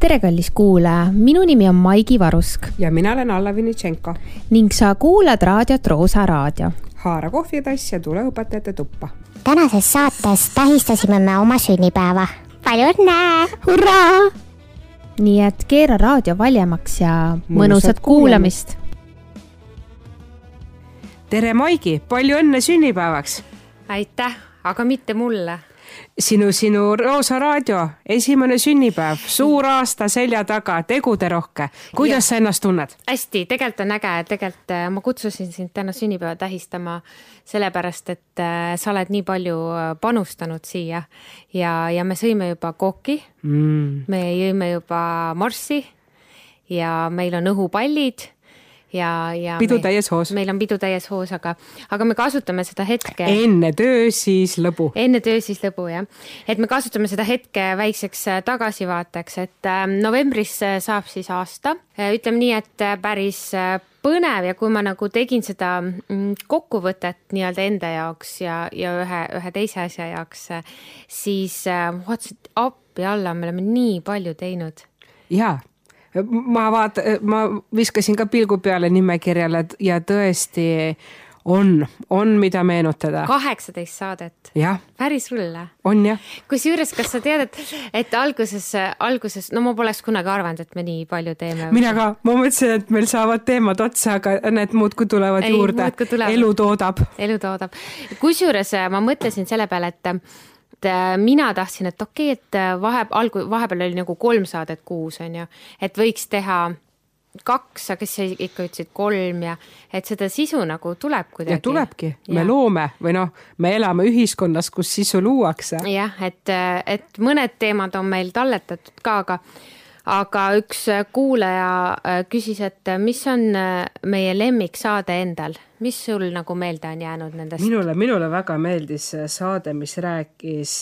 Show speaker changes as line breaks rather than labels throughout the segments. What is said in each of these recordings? tere , kallis kuulaja , minu nimi on Maigi Varusk
ja mina olen Alla Vinitšenko .
ning sa kuulad raadiot Roosa Raadio .
haara kohvitass ja tule õpetajate tuppa .
tänases saates tähistasime me oma sünnipäeva . palju õnne , hurraa !
nii et keera raadio valjemaks ja mõnusat, mõnusat
Mõnusat
kuulamist,
kuulamist.
kuulamist. .
tere , Maigi , palju õnne sünnipäevaks .
aitäh , aga mitte mulle .
sinu , sinu Roosa raadio esimene sünnipäev , suur aasta selja taga , teguderohke . kuidas ja. sa ennast tunned ?
hästi , tegelikult on äge , tegelikult äh, ma kutsusin sind täna sünnipäeva tähistama sellepärast , et äh, sa oled nii palju äh, panustanud siia ja , ja me sõime juba kooki ,
Mm.
me jõime juba morssi ja meil on õhupallid ja , ja .
Pidu täies hoos.
meil on pidu täies hoos , aga , aga me kasutame seda hetke
enne töö , siis lõbu .
enne töö siis lõbu jah , et me kasutame seda hetke väikseks äh, tagasivaateks , et äh, novembris äh, saab siis aasta , ütleme nii , et äh, päris äh, põnev ja kui ma nagu tegin seda mm, kokkuvõtet nii-öelda enda jaoks ja , ja ühe , ühe teise asja jaoks , siis äh, vaatasin , et appi alla , me oleme nii palju teinud .
jaa , ma vaat- , ma viskasin ka pilgu peale nimekirjale t- ja tõesti on , on , mida meenutada .
kaheksateist saadet ,
jah ,
päris hull
on jah .
kusjuures , kas sa tead , et , et alguses , alguses , no ma poleks kunagi arvanud , et me nii palju teeme .
mina ka , ma mõtlesin , et meil saavad teemad otsa , aga need muudkui tulevad
Ei,
juurde
muudkui tulevad. .
elu toodab .
elu toodab . kusjuures äh, ma mõtlesin selle peale , et , et äh, mina tahtsin , et okei okay, , et äh, vahe , algu- , vahepeal oli nagu kolm saadet kuus , on ju , et võiks teha kaks , aga siis sa ikka ütlesid kolm ja et seda sisu nagu tuleb kuidagi .
ja tulebki , me . loome või noh , me elame ühiskonnas , kus sisu luuakse .
jah , et , et mõned teemad on meil talletatud ka , aga aga üks kuulaja äh, küsis , et mis on äh, meie lemmiksaade endal , mis sul nagu meelde on jäänud nendest ?
minule , minule väga meeldis saade , mis rääkis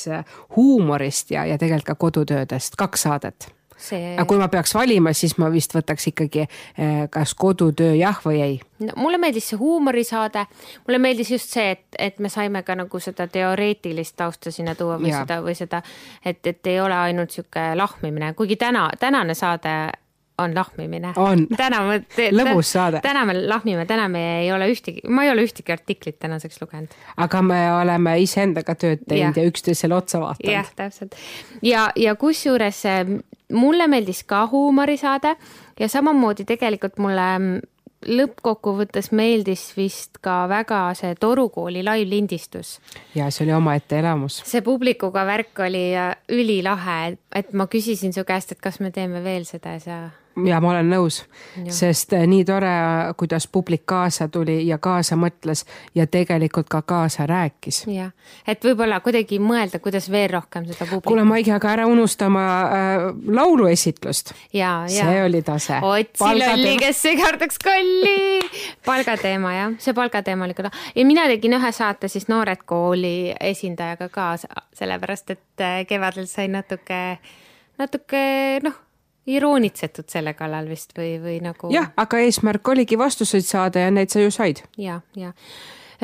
huumorist ja , ja tegelikult ka kodutöödest , kaks saadet .
see
aga kui ma peaks valima , siis ma vist võtaks ikkagi eh, kas kodutöö jah või ei .
no, . mulle meeldis see huumorisaade , mulle meeldis just see , et , et me saime ka nagu seda teoreetilist tausta sinna tuua või ja.
Jaa.
seda või seda , et , et ei ole ainult sihuke lahmimine , kuigi täna , tänane saade on lahmimine .
On.
täna me te,
Lõbus saade.
täna me lahmime , täna me ei ole ühtegi , ma ei ole ühtegi artiklit tänaseks lugenud .
aga me oleme iseendaga tööd teinud
Jah.
ja, ja üksteisele otsa vaadanud .
jah , täpselt ja , ja kusjuures äh, mulle meeldis ka huumorisaade ja samamoodi tegelikult mulle mm, lõppkokkuvõttes meeldis vist ka väga see Toru kooli laivlindistus .
ja see oli omaette elamus .
see publikuga värk oli äh, ülilahe , et ma küsisin su käest , et kas me teeme veel seda ja sa
ja ma olen nõus , sest eh, nii tore , kuidas publik kaasa tuli ja kaasa mõtles ja tegelikult ka kaasa rääkis .
jah , et võib-olla kuidagi mõelda , kuidas veel rohkem seda
kuule ,
publikut
Maige , aga ära unusta oma äh, lauluesitlust .
ja , ja
see oli tase .
otsi lolli ,. kes segardaks kolli . palgateema jah , see palgateema oli küll ja mina tegin ühe saate siis Noored Kooli esindajaga kaasa , sellepärast et äh, kevadel sai natuke , natuke noh , iroonitsetud selle kallal vist või , või nagu
jah , aga eesmärk oligi vastuseid saada ja neid sa ju said .
ja , ja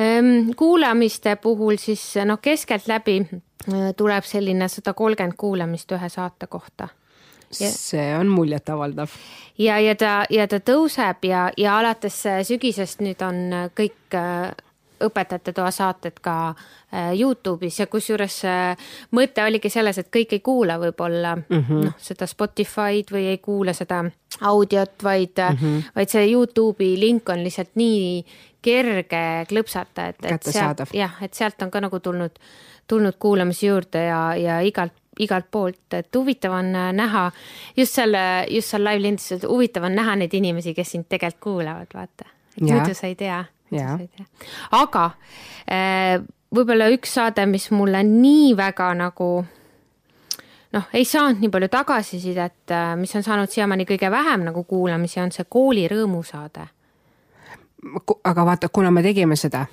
Ehm, kuulamiste puhul siis noh , keskeltläbi äh, tuleb selline sada kolmkümmend kuulamist ühe saate kohta
see on muljetavaldav .
ja , ja ta ja ta tõuseb ja , ja alates äh, sügisest nüüd on kõik äh, õpetajate toa saated ka äh, Youtube'is ja kusjuures äh, mõte oligi selles , et kõik ei kuula võib-olla mm -hmm. noh , seda Spotify'd või ei kuula seda audiot , vaid mm , -hmm. vaid see Youtube'i link on lihtsalt nii kerge klõpsata , et , et
Kättesaadav.
sealt jah , et sealt on ka nagu tulnud , tulnud kuulamise juurde ja , ja igalt , igalt poolt , et huvitav on äh, näha just seal , just seal live lindistusel , huvitav on näha neid inimesi , kes sind tegelikult kuulavad , vaata .
Jaa.
muidu sa ei tea , muidu
Jaa.
sa ei tea . aga äh, võib-olla üks saade , mis mulle nii väga nagu noh , ei saanud nii palju tagasisidet , mis on saanud siiamaani kõige vähem nagu kuulamisi , on see koolirõõmu saade
aga vaata , kuna me tegime seda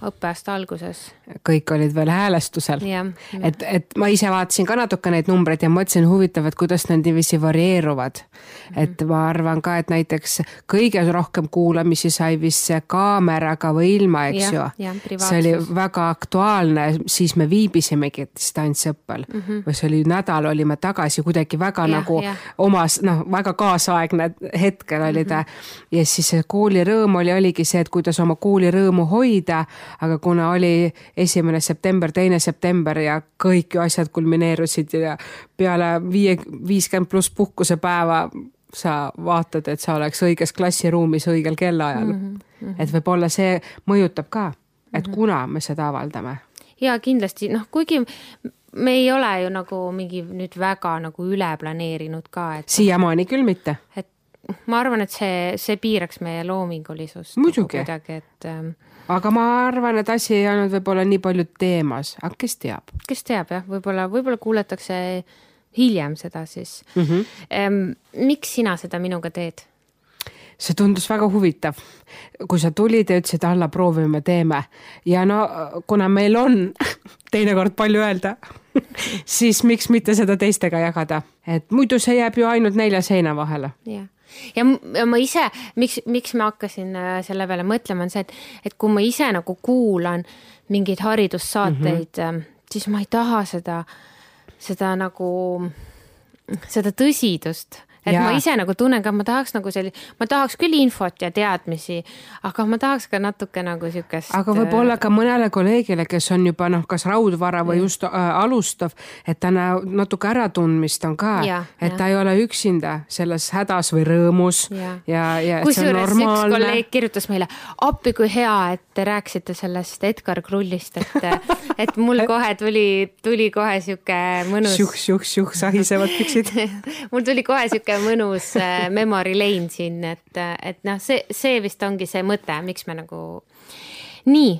õppeaasta alguses .
kõik olid veel häälestusel
Jah, jah.
et , et ma ise vaatasin ka natuke neid numbreid ja mõtlesin huvitav , et kuidas need niiviisi varieeruvad .
Mhm.
et ma arvan ka , et näiteks kõige rohkem kuulamisi sai vist see kaameraga või ilma , eks
Jah,
ju
jah, .
see oli
privaatsus.
väga aktuaalne , siis me viibisimegi distantsõppel mm -hmm. või see oli nädal olime tagasi kuidagi väga
Mhm. Jah,
nagu
jah.
omas noh , väga kaasaegne hetkel oli ta mm . -hmm. ja siis see koolirõõm oli , oligi see , et kuidas oma koolirõõmu hoida , aga kuna oli esimene september , teine september ja kõik ju asjad kulmineerusid ja peale viie , viiskümmend pluss puhkusepäeva sa vaatad , et sa oleks õiges klassiruumis õigel kellaajal mm . -hmm. et võib-olla see mõjutab ka , et mm -hmm. kuna me seda avaldame
ja kindlasti noh , kuigi me ei ole ju nagu mingi nüüd väga nagu üle planeerinud ka , et ,
siiamaani küll mitte .
et ma arvan , et see , see piiraks meie loomingulisust .
Muidugi.
kuidagi , et ähm,
aga ma arvan , et asi ei olnud võib-olla nii palju teemas , aga kes teab
kes teab jah , võib-olla , võib-olla kuuletakse hiljem seda siis
mm . -hmm.
ähm, . miks sina seda minuga teed ?
see tundus väga huvitav , kui sa tulid ja ütlesid , Alla , proovime , teeme ja no kuna meil on teinekord palju öelda , siis miks mitte seda teistega jagada , et muidu see jääb ju ainult nelja seina vahele .
jah , ja m- ja ma ise , miks , miks ma hakkasin äh, selle peale mõtlema , on see , et , et kui ma ise nagu kuulan mingeid haridussaateid
Mhm.
mm , -hmm. siis ma ei taha seda , seda nagu , seda tõsidust et ja.
Jaa.
ma ise nagu tunnen ka , ma tahaks nagu selli- , ma tahaks küll infot ja teadmisi , aga ma tahaks ka natuke nagu siukest .
aga
äh,
võib-olla ka mõnele kolleegile , kes on juba noh , kas raudvara või just äh, alustav , et ta näe- natuke äratundmist on ka
Jah, ,
et
jah.
ta ei ole üksinda selles hädas või rõõmus ja
Jah. ,
ja et see on
kusjuures üks
normaalne
kolleeg kirjutas meile , appi kui hea , et te rääkisite sellest Edgar Krullist , et , et mul kohe tuli , tuli kohe sihuke mõnus ,
šuh-šuh-šuh sahisevad püksid .
mul tuli kohe sihuke mõnus äh, memory lane siin , et , et noh , see , see vist ongi see mõte , miks me nagu . nii ,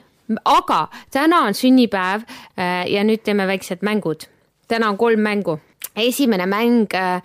aga täna on sünnipäev äh, ja nüüd teeme väiksed mängud . täna on kolm mängu . esimene mäng äh,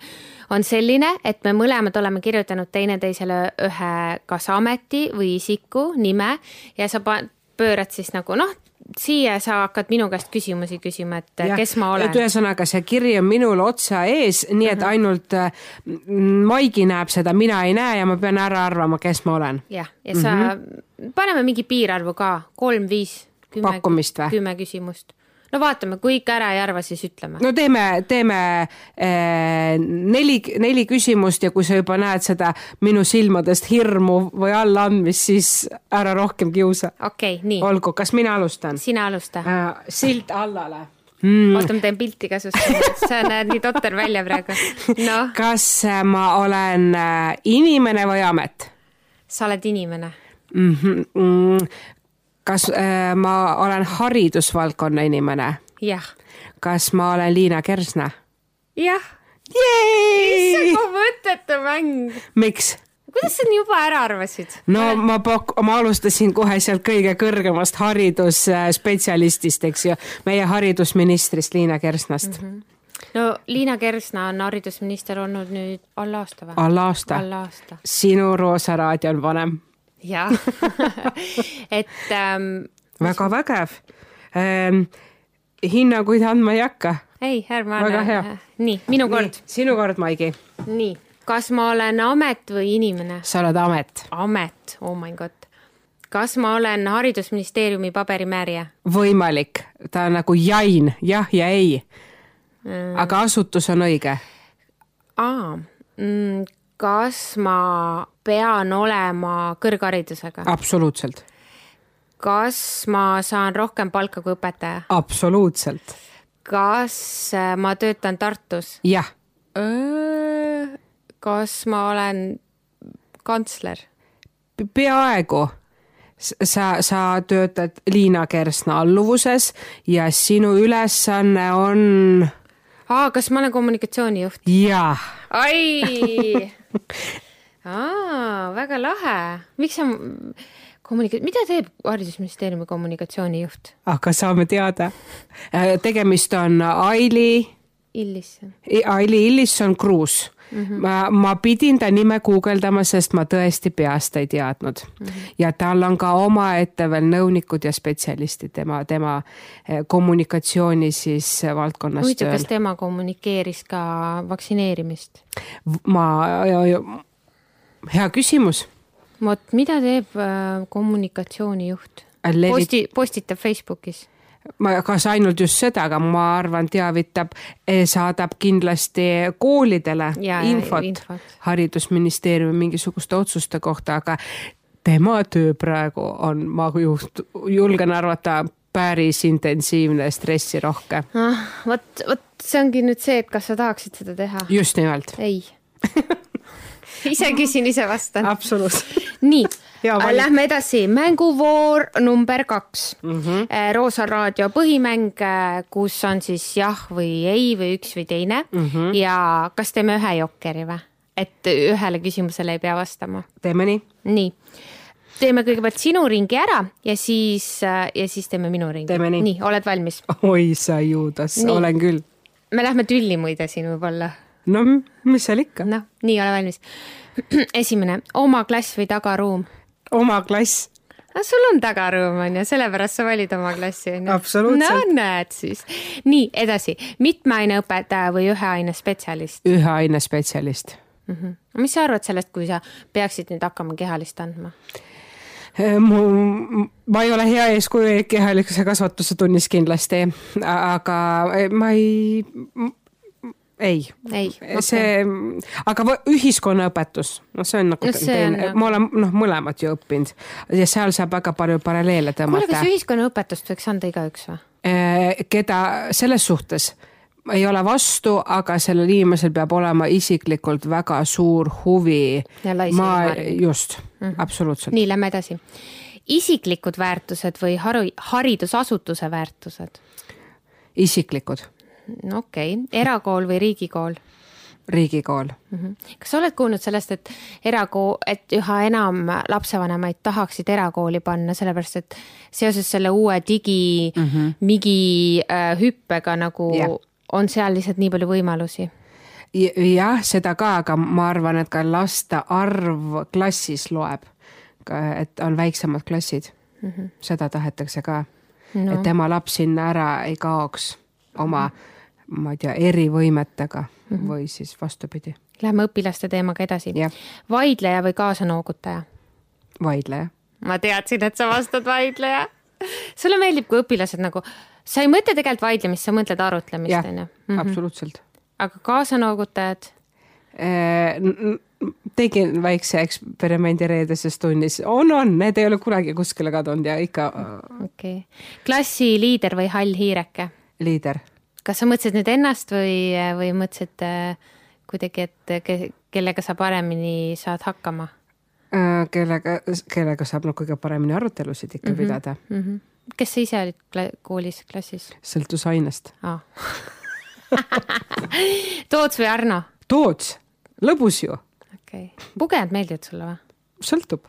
on selline , et me mõlemad oleme kirjutanud teineteisele ühe kas ameti või isiku nime ja sa pa- pöörad siis nagu noh , siia sa hakkad minu käest küsimusi küsima , et ja, kes ma olen Mhm.
et . ühesõnaga , see kiri on minul otsa ees , nii et ainult äh, m- Maigi näeb seda , mina ei näe ja ma pean ära arvama , kes ma olen .
jah , ja sa mm , -hmm. paneme mingi piirarvu ka , kolm , viis , kümme .
Pakkumist või?
kümme küsimust . no vaatame , kui ikka ära ei arva , siis ütleme no. .
no teeme , teeme äh, neli , neli küsimust ja kui sa juba näed seda minu silmadest hirmu või allaandmist , siis ära rohkem kiusa .
okei okay, , nii ,
olgu , kas mina alustan ?
sina alusta mm. .
Äh, silt Allale
oota , ma teen pilti ka sust , sa näed nii totter välja praegu . noh ,
kas äh, ma olen äh, inimene või amet ?
sa oled inimene ,
Mhm, mm, kas äh, ma olen haridusvaldkonna inimene ?
jah .
kas ma olen Liina Kersna ?
jah , see
Jeei!
on mõttetu mäng .
miks ?
kuidas sa nii juba ära arvasid ?
no ma pak- , ma alustasin kohe sealt kõige kõrgemast haridusspetsialistist , eks ju , meie haridusministrist Liina Kersnast mm .
Mhm.
-hmm.
no Liina Kersna on haridusminister olnud nüüd alla aasta või ?
alla aasta .
alla aasta .
sinu Roosa raadio on vanem .
jah , et ähm,
väga vägev ähm, . hinnanguid andma ei hakka .
ei , ärme
Väga hea. .
nii , minu kord .
sinu kord , Maigi .
nii , kas ma olen amet või inimene ?
sa oled amet
amet , oh my god . kas ma olen haridusministeeriumi paberimäärija ?
võimalik , ta on nagu jain , jah ja ei . aga asutus on õige .
aa , kas ma pean olema kõrgharidusega ?
absoluutselt ,
kas ma saan rohkem palka kui õpetaja ?
absoluutselt ,
kas äh, ma töötan Tartus ?
jah ,
kas ma olen kantsler ?
peaaegu . sa , sa töötad Liina Kersna alluvuses ja sinu ülesanne on
aa , kas ma olen kommunikatsioonijuht ?
jah ,
ai aa , väga lahe , miks sa kommunika- , mida teeb haridusministeeriumi kommunikatsioonijuht
aga saame teada . tegemist on Äh, Aili
Illisse .
Aili Illisson Kruus mm .
Mhm.
-hmm. ma , ma pidin ta nime guugeldama , sest ma tõesti peast ei teadnud
Mhm.
mm . -hmm. ja tal on ka omaette veel nõunikud ja spetsialistid tema , tema eh, kommunikatsiooni siis eh, valdkonnas
huvitav ,
tööl
kas . tema kommunikeeris ka vaktsineerimist ?
ma , hea küsimus .
vot , mida teeb äh, kommunikatsioonijuht ?
Levi-
posti , postitab Facebookis .
ma , kas ainult just seda , aga ma arvan , teavitab , saadab kindlasti koolidele
Ja, ja,
infot,
infot.
infot. haridusministeeriumi mingisuguste otsuste kohta , aga tema töö praegu on , ma juht- , julgen arvata , päris intensiivne , stressirohke .
ah , vot , vot see ongi nüüd see , et kas sa tahaksid seda teha ?
just nimelt .
ei . ise küsin , ise vastan .
absoluutselt .
nii Äh,
Hea , valik.
lähme edasi , mänguvoor number kaks mm .
Mhm.
-hmm. Roosa raadio põhimäng , kus on siis jah või ei või üks või teine mm
Mhm.
-hmm. ja kas teeme ühe jokkeri või ? et ühele küsimusele ei pea vastama .
teeme nii .
nii , teeme kõigepealt sinu ringi ära ja siis , ja siis teeme minu ringi .
Teeme nii.
nii , oled valmis ?
oi sa juudas ,
Nii.
olen küll .
me lähme tülli muide siin võib-olla
no mis seal ikka ,
noh , nii , ole valmis . esimene , oma klass või tagaruum ?
oma klass .
no Ah, sul on tagaruum onju , sellepärast sa valid oma klassi onju .
Absoluutselt.
no näed siis . nii edasi , mitme aine õpetaja või ühe aine spetsialist
ühe aine spetsialist
mm ? -hmm. mis sa arvad sellest , kui sa peaksid nüüd hakkama kehalist andma ?
Äh, mu , ma ei ole hea eeskuju kehalise kasvatuse tunnis kindlasti , aga äh, ma ei , ei .
ei , okei .
see , aga võ- ühiskonnaõpetus , noh , see on nagu
No
no,
see on
teine ,
nagu-
ma olen noh , mõlemat ju õppinud ja seal saab väga palju paralleele
kuule ,
tõmmata Äh,
kas , ühiskonnaõpetust võiks anda igaüks või ?
keda selles suhtes ma ei ole vastu , aga sellel inimesel peab olema isiklikult väga suur huvi .
Ja lai silmaring. Mhm.
just mm , -hmm. absoluutselt .
nii , lähme edasi . isiklikud väärtused või haru , haridusasutuse väärtused ?
isiklikud ,
no okei okay. , erakool või riigikool ?
riigikool
Mhm. kas sa oled kuulnud sellest , et erakool , et üha enam lapsevanemaid tahaksid erakooli panna , sellepärast et seoses selle uue digi mm , -hmm. migi äh, hüppega nagu
Jah.
yeah. on seal lihtsalt nii palju võimalusi .
Ja- jah , seda ka , aga ma arvan , et ka laste arv klassis loeb . et on väiksemad klassid mm , -hmm. seda tahetakse ka no. , et tema laps sinna ära ei kaoks oma , ma ei tea , erivõimetega mm -hmm. või siis vastupidi ,
Lähme õpilaste teemaga edasi
Jah. .
vaidleja või kaasanoogutaja ?
vaidleja .
ma teadsin , et sa vastad vaidleja . sulle meeldib , kui õpilased nagu , sa ei mõtle tegelikult vaidlemist , sa mõtled
jah
arutlemist , onju .
absoluutselt .
aga kaasanoogutavad ,
tegin väikse eksperimendi reedeses tunnis , on , on , need ei ole kunagi kuskile kadunud ja ikka äh,
okei okay. . klassiliider või hall hiireke ?
liider
kas sa mõtlesid nüüd ennast või , või mõtlesid äh, kuidagi , et äh, ke, kellega sa paremini saad hakkama
Äh, kellega , kellega saab nagu kõige paremini arutelusid ikka mm -hmm. pidada ,
mm ? -hmm. kes sa ise olid kla koolis , klassis
sõltus ainest .
ah. ? Toots või Arno ?
Toots , lõbus ju ,
okei okay. , pugejad meeldivad sulle või ?
sõltub .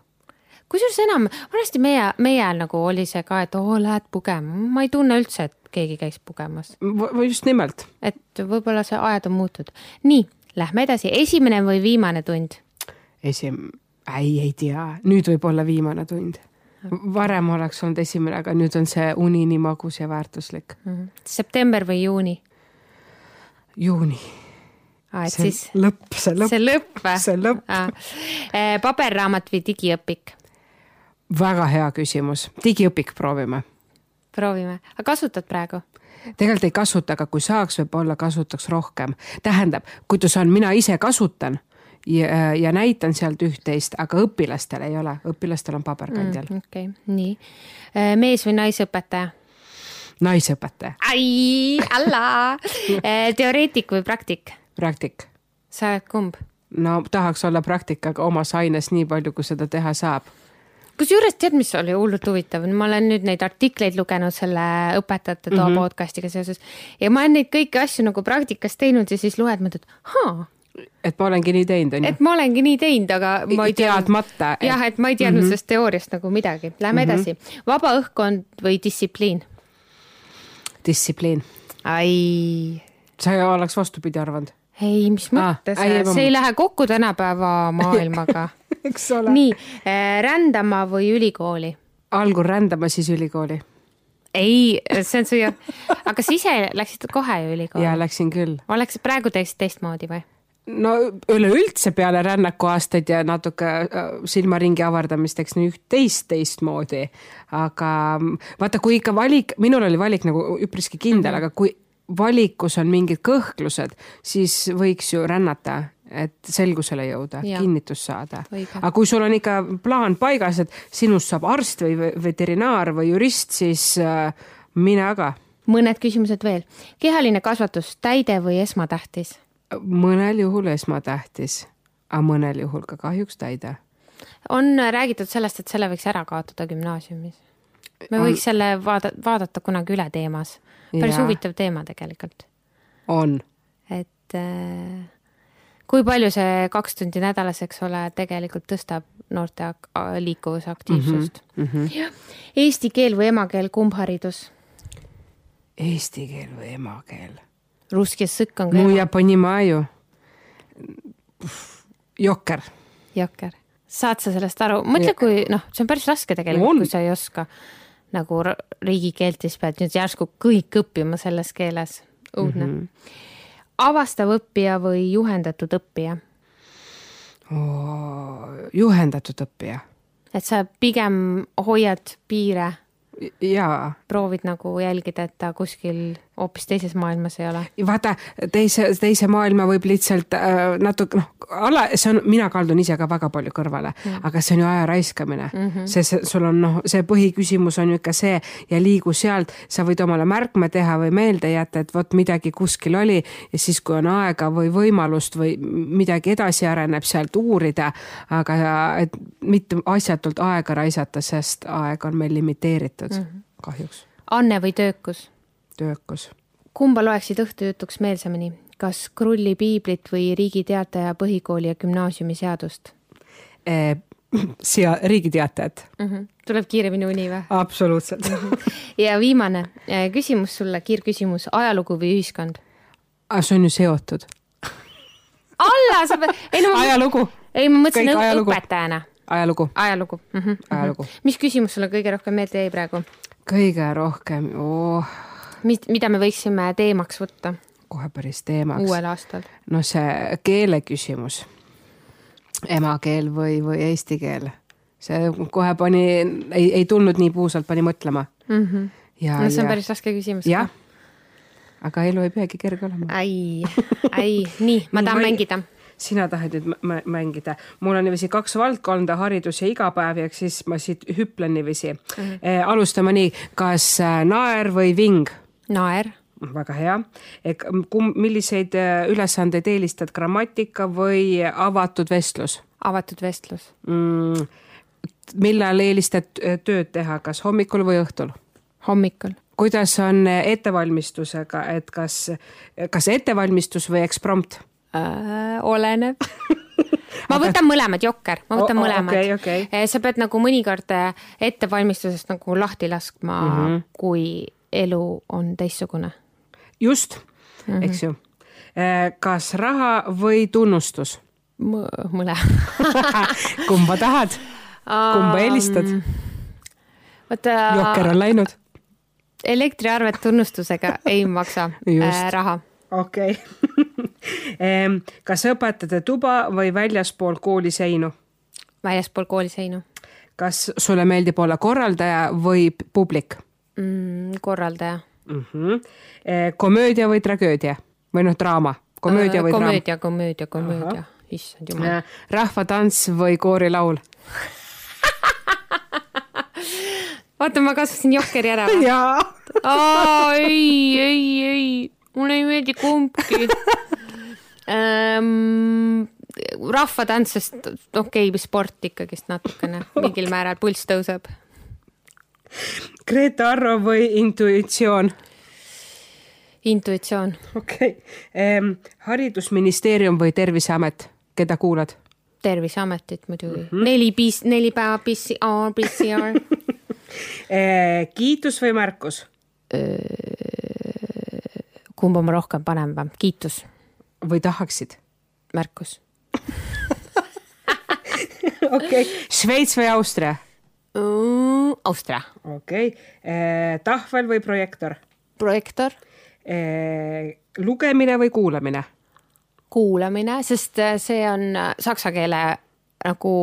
kusjuures enam , vanasti meie , meie ajal nagu oli see ka , et oo , lähed pugema , ma ei tunne üldse , et keegi käis pugemas ,
või just nimelt ,
et võib-olla see ajad on muutunud . nii , lähme edasi , esimene või viimane tund ?
esim- , ei , ei tea , nüüd võib olla viimane tund . varem oleks olnud esimene , aga nüüd on see uni nii magus ja väärtuslik .
Mhm. september või juuni ?
juuni ,
aa , et
see
siis
on lõpp , see on lõpp ,
see lõpp või ?
see on lõpp. .
paberraamat või digiõpik ?
väga hea küsimus , digiõpik proovime
proovime , aga kasutad praegu ?
tegelikult ei kasuta , aga kui saaks , võib-olla kasutaks rohkem . tähendab , kuidas on , mina ise kasutan ja, ja näitan sealt üht-teist , aga õpilastel ei ole , õpilastel on paberkandjal mm. .
okei okay, , nii . mees või naisõpetaja ?
naisõpetaja ,
ai , alla . teoreetik või praktik ?
praktik .
sa oled kumb ?
no tahaks olla praktikaga omas aines nii palju , kui seda teha saab .
kusjuures tead , mis oli hullult huvitav , ma olen nüüd neid artikleid lugenud selle õpetajate toa mm
Mhm.
-hmm. podcast'iga seoses ja ma olen neid kõiki asju nagu praktikas teinud ja siis loed , mõtled , haa ,
et ma olengi nii teinud , onju .
et ma olengi nii teinud , aga ma ei tea .
teadmata , Mhm.
jah , et ma ei teadnud mm -hmm. sellest teooriast nagu midagi . Lähme mm -hmm. edasi . vaba õhkkond või distsipliin ?
distsipliin .
ai ,
sa ei oleks vastupidi arvanud ,
ei , mis
Ah,
mõttes
ai, ei, , ma-
see ei lähe kokku tänapäeva maailmaga .
eks ole .
nii , rändama või ülikooli ?
algul rändama , siis ülikooli
ei , see on su jah , aga sa ise läksid kohe ju ülikooli
ja . läksin küll .
oleks , praegu teeksid teistmoodi või ?
no üleüldse peale rännakuaastaid ja natuke äh, silmaringi avardamist , eks nii üht-teist teistmoodi , aga mm, vaata , kui ikka valik , minul oli valik nagu üpriski kindel mm , -hmm. aga kui valikus on mingid kõhklused , siis võiks ju rännata , et selgusele jõuda ,
Jaa.
kinnitust saada .
Õige.
aga kui sul on ikka plaan paigas , et sinust saab arst või ve- veterinaar või jurist , siis äh, mine aga ,
mõned küsimused veel . kehaline kasvatus , täide või esmatähtis ?
mõnel juhul esmatähtis , aga mõnel juhul ka kahjuks täide
on räägitud sellest , et selle võiks ära kaotada gümnaasiumis . me võiks selle vaada- , vaadata kunagi üle teemas . päris
Jaa.
huvitav teema tegelikult .
on ,
et äh, kui palju see kaks tundi nädalas , eks ole , tegelikult tõstab noorte ak- a- liikuvusaktiivsust mm . -hmm. Eesti keel või emakeel , kumb haridus ?
eesti keel või emakeel ?
Ruski sõkk on ka
no ja понимаю . jokker ,
jokker . saad sa sellest aru , mõtle , kui noh , see on päris raske
On.
tegelikult , kui sa ei oska nagu ra- riigikeelt ja siis pead nüüd järsku kõik õppima selles keeles . õudne mm . -hmm. avastav õppija või juhendatud õppija ?
juhendatud õppija
et sa pigem hoiad piire ,
jaa ,
proovid nagu jälgida , et ta kuskil hoopis teises maailmas ei ole .
vaata teise , teise maailma võib lihtsalt äh, natuke noh , ala , see on , mina kaldun ise ka väga palju kõrvale mm. , aga see on ju aja raiskamine mm . -hmm. see , sul on noh , see põhiküsimus on ju ikka see ja liigu sealt , sa võid omale märkme teha või meelde jätta , et vot midagi kuskil oli ja siis , kui on aega või võimalust või midagi edasi areneb , sealt uurida , aga et mitte asjatult aega raisata , sest aeg on meil limiteeritud mm , -hmm. kahjuks ,
anne või töökus ?
töökus
kumba loeksid õhtujutuks meelsamini , kas Krulli piiblit või Riigi Teataja põhikooli ja gümnaasiumi seadust
Eh, siia Riigi Teatajat
mm ? -hmm. tuleb kiiremini uni või ?
absoluutselt .
ja viimane eh, küsimus sulle , kiirküsimus , ajalugu või ühiskond ?
aga see on ju seotud .
alla sa pead , ei no ma ,
ajalugu , Mhm.
ei ma mõtlesin
Kõik
õp-
ajalugu.
õpetajana ,
ajalugu ,
ajalugu mm . -hmm.
ajalugu .
mis küsimus sulle kõige rohkem meelde jäi praegu ,
kõige rohkem oh, ,
mis , mida me võiksime teemaks võtta
kohe päris teemaks .
uuel aastal ?
no see keele küsimus , emakeel või , või eesti keel , see kohe pani , ei , ei tulnud nii puusalt , pani mõtlema mm . -hmm. ja ,
Mhm. no see on
ja ,
päris raske küsimus .
jah . aga elu ei peagi kerge olema .
ai , ai , nii , ma tahan
Nii,
mängida .
sina tahad nüüd mä- mä- mängida , mul on niiviisi kaks valdkonda , haridus ja igapäev ja eks siis ma siit hüplen niiviisi mm . -hmm. alustame nii , kas äh, naer või ving ?
naer ,
väga hea . kumb , milliseid äh, ülesandeid eelistad , grammatika või avatud vestlus
avatud vestlus ,
mm, ? millal eelistad äh, tööd teha , kas hommikul või õhtul ?
hommikul ,
kuidas on äh, ettevalmistusega , et kas , kas ettevalmistus või eksprompt ?
äh, . oleneb . ma võtan mõlemad , jokker , ma võtan
O- o-
mõlemad
okei, okei.
Eh, sa pead nagu mõnikord eh, ettevalmistusest nagu lahti laskma mm ,
Mhm.
-hmm. kui elu on teistsugune .
just mm , -hmm. eks ju . kas raha või tunnustus ?
mõle .
kumba tahad , kumba eelistad ?
vaata ,
jokker on läinud .
elektriarvet tunnustusega ei maksa
Just.
äh, raha .
okei okay. . kas õpetajate tuba või väljaspool kooli seinu ?
väljaspool kooliseinu
kas sulle meeldib olla korraldaja või p- publik
mm, , korraldaja .
mm ? -hmm. komöödia või tragöödia või noh , draama , komöödia või draama ?
Äh, komöödia , komöödia , komöödia , issand jumal .
rahvatants või koorilaul ?
vaata , ma kasvasin jokkeri ära .
jaa .
aa , ei , ei , ei , mulle ei meeldi kumbki ähm, . rahvatants , sest okei okay, , noh, sport ikkagist natukene , mingil määral pulss tõuseb .
Grete Arro või intuitsioon ?
intuitsioon ,
okei okay. . haridusministeerium või Terviseamet , keda kuulad ?
terviseametit muidugi mm , -hmm. neli piis- , neli päeva PCR , PCR .
Eh, kiitus või märkus ?
kumba ma rohkem panen või ? kiitus ,
või tahaksid ?
märkus .
okei okay. . Šveits või Austria ?
Austria .
okei okay. , tahvel või projektor ?
projektor ,
lugemine või kuulamine ?
kuulamine , sest äh, see on äh, saksa keele nagu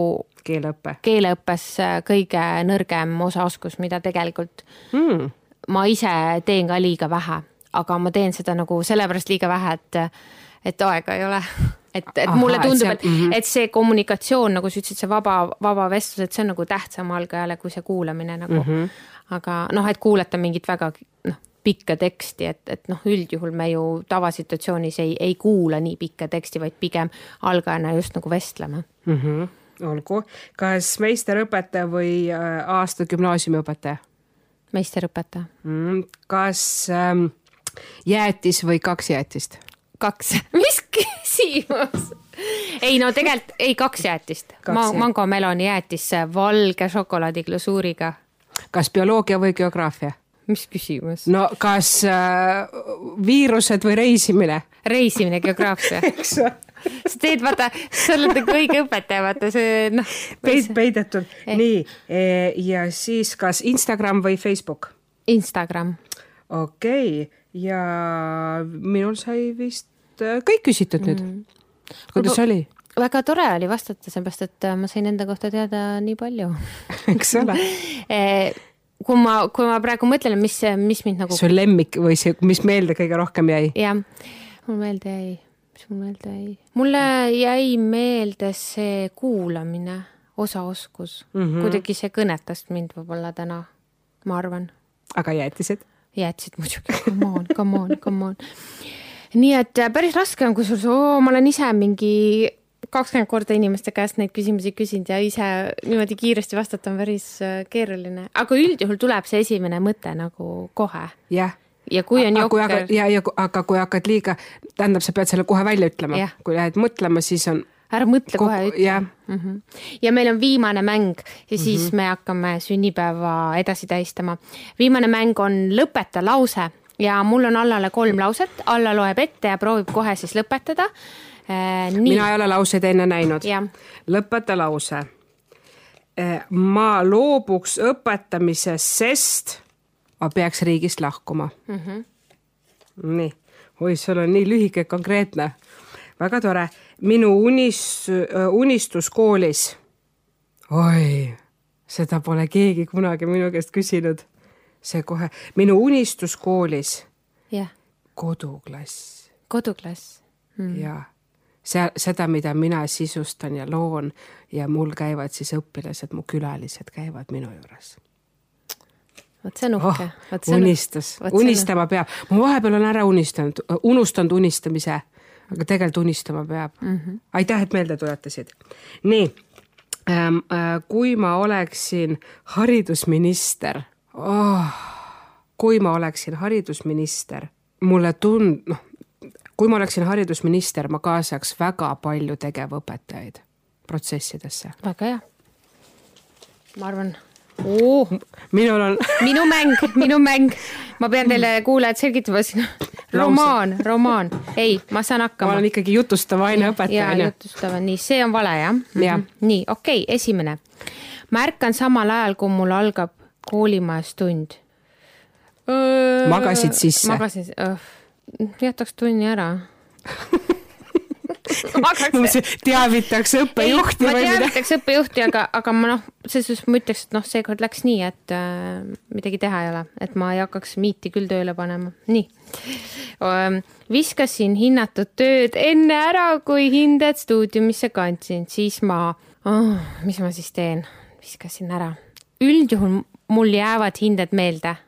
keeleõpe
keeleõppes äh, kõige nõrgem osaoskus , mida tegelikult
mm. .
ma ise teen ka liiga vähe , aga ma teen seda nagu sellepärast liiga vähe , et , et aega ei ole et , et
Ahaa,
mulle
et
tundub ,
see- Mhm.
et , et see kommunikatsioon , nagu sa ütlesid , see vaba , vaba vestlus , et see on nagu tähtsam algajale kui see kuulamine nagu mm .
Mhm.
-hmm. aga noh , et kuulata mingit väga noh , pikka teksti , et , et noh , üldjuhul me ju tavasituatsioonis ei , ei kuula nii pikka teksti , vaid pigem algajana just nagu vestleme .
Mm -hmm. olgu , kas meisterõpetaja või äh, aasta gümnaasiumiõpetaja
meisterõpetaja ,
mm. ? kas ähm, jäätis või kaks jäätist ?
kaks , mis küsimus ? ei no tegelikult , ei kaks jäätist
Kaks
Ma, ,
jäätist.
mango meloni jäätis valge šokolaadiglasuuriga .
kas bioloogia või geograafia ?
mis küsimus ?
no kas äh, viirused või reisimine ?
reisimine , geograafia .
eks ole ,
sa teed , vaata , sa oled nagu õige õpetaja , vaata see noh ,
peit , peidetud ,
Eh.
nii e, ja siis kas Instagram või Facebook ?
Instagram .
okei okay. , ja minul sai vist äh, kõik küsitud nüüd mm. . kuidas oli ?
väga tore oli vastata , sellepärast et äh, ma sain enda kohta teada nii palju .
eks ole .
Eh, kui ma , kui ma praegu mõtlen , mis , mis mind nagu
su lemmik või see , mis meelde kõige rohkem jäi ?
jah , mul meelde jäi , mis mul meelde jäi ? mulle jäi meelde see kuulamine , osaoskus mm -hmm. , kuidagi see kõnetas mind võib-olla täna , ma arvan .
aga jäätised ?
jäätisid muidugi , come on , come on , come on . nii et äh, päris raske on , kusjuures oo, ma olen ise mingi kakskümmend korda inimeste käest neid küsimusi küsinud ja ise niimoodi kiiresti vastata on päris äh, keeruline , aga üldjuhul tuleb see esimene mõte nagu kohe
jah .
ja kui on jokker ,
ja , ja ku- aga kui hakkad liiga , tähendab , sa pead selle kohe välja ütlema
Jah. ,
kui lähed mõtlema , siis on .
ära mõtle kohe , ütle .
jah ,
mm . -hmm. ja meil on viimane mäng ja siis
Mhm.
mm -hmm. me hakkame sünnipäeva edasi tähistama . viimane mäng on lõpeta lause ja mul on Allale kolm lauset , Alla loeb ette ja proovib kohe siis lõpetada . nii ,
mina ei ole lauseid enne näinud .
jah ,
lõpeta lause . ma loobuks õpetamisest , sest ma peaks riigist lahkuma mm . -hmm. nii , oi , sul on nii lühike , konkreetne . väga tore , minu unis , unistus koolis . oi , seda pole keegi kunagi minu käest küsinud . see kohe , minu unistus koolis ,
jah ,
koduklass
koduklass .
ja see , seda , mida mina sisustan ja loon ja mul käivad siis õpilased , mu külalised käivad minu juures .
vot see on
oh
uhke Vot see on-
unistas
vot , see on-
unistama peab , ma vahepeal olen ära unistanud , unustanud unistamise , aga tegelikult unistama peab mm .
Mhm.
-hmm. aitäh , et meelde tuletasid . nii ähm, , äh, kui ma oleksin haridusminister oh, , kui ma oleksin haridusminister , mulle tund- , noh , kui ma oleksin haridusminister , ma kaasaks väga palju tegevõpetajaid protsessidesse .
väga hea . ma arvan ,
minul on
minu mäng , minu mäng , ma pean teile kuulajad selgitama siin . romaan , romaan , ei , ma saan
ma
hakkama
olen . ikkagi jutustava aineõpetaja ,
ja
onju .
jutustava , nii , see on vale jah Mhm.
Jah. ?
nii , okei okay, , esimene . märkan samal ajal , kui mul algab koolimajas tund .
Magasid sisse.
magasin , jätaks tunni ära
Ma mõtlesin, teavitaks õppejuhti
ma
või mida .
teavitaks õppejuhti , aga , aga ma noh , selles suhtes ma ütleks , et noh , seekord läks nii , et äh, midagi teha ei ole , et ma ei hakkaks miiti küll tööle panema , nii . viskasin hinnatud tööd enne ära , kui hinded stuudiumisse kandsin , siis ma oh, , mis ma siis teen , viskasin ära . üldjuhul mul jäävad hinded meelde ,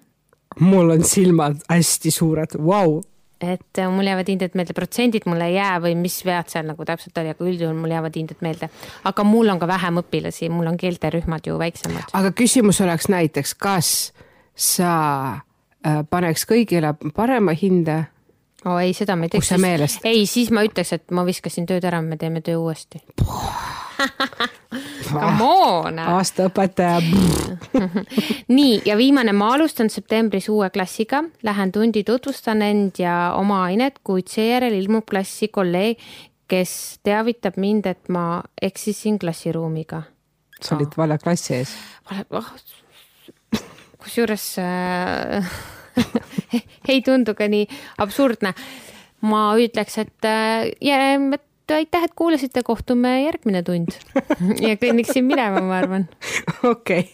mul on silmad hästi suured , vau .
et äh, mul jäävad hinded meelde , protsendid mul ei jää või mis vead seal nagu täpselt oli , aga üldjuhul mul jäävad hinded meelde . aga mul on ka vähem õpilasi , mul on keelterühmad ju väiksemad .
aga küsimus oleks näiteks , kas sa äh, paneks kõigile parema hinde
oo ei , seda ma ei teeks .
Kus see meelest?
ei , siis ma ütleks , et ma viskasin tööd ära , me teeme töö uuesti . come on .
Ah. aastaõpetaja .
nii , ja viimane , ma alustan septembris uue klassiga , lähen tundi tutvustan end ja oma ainet , kuid seejärel ilmub klassi kolleeg , kes teavitab mind , et ma eksisin klassiruumiga .
sa olid vale klassi ees .
oh, kusjuures äh, ei tundu ka nii absurdne . ma ütleks , et äh, jää- et aitäh , et kuulasite , kohtume järgmine tund ja kõnniksin minema , ma arvan .
okei ,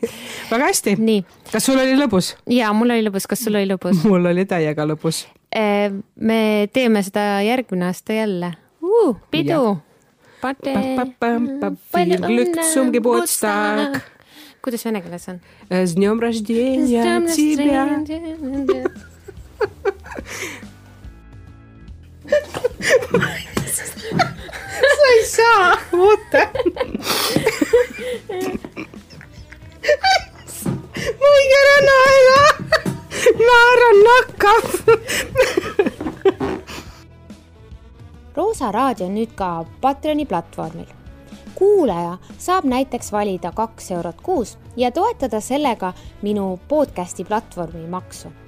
väga hästi .
nii ,
kas sul oli lõbus ?
ja mul oli lõbus , kas sul oli lõbus ?
mul oli täiega lõbus .
me teeme seda järgmine aasta jälle uh, . pidu . Mm,
Viel Glück zum Geburtstag.
kuidas vene keeles on ?
С днем рождения тебя! Sa oota . ma võin ära naela , naeran nakkab .
Roosa Raadio on nüüd ka Patreoni platvormil . kuulaja saab näiteks valida kaks eurot kuus ja toetada sellega minu podcasti platvormi maksu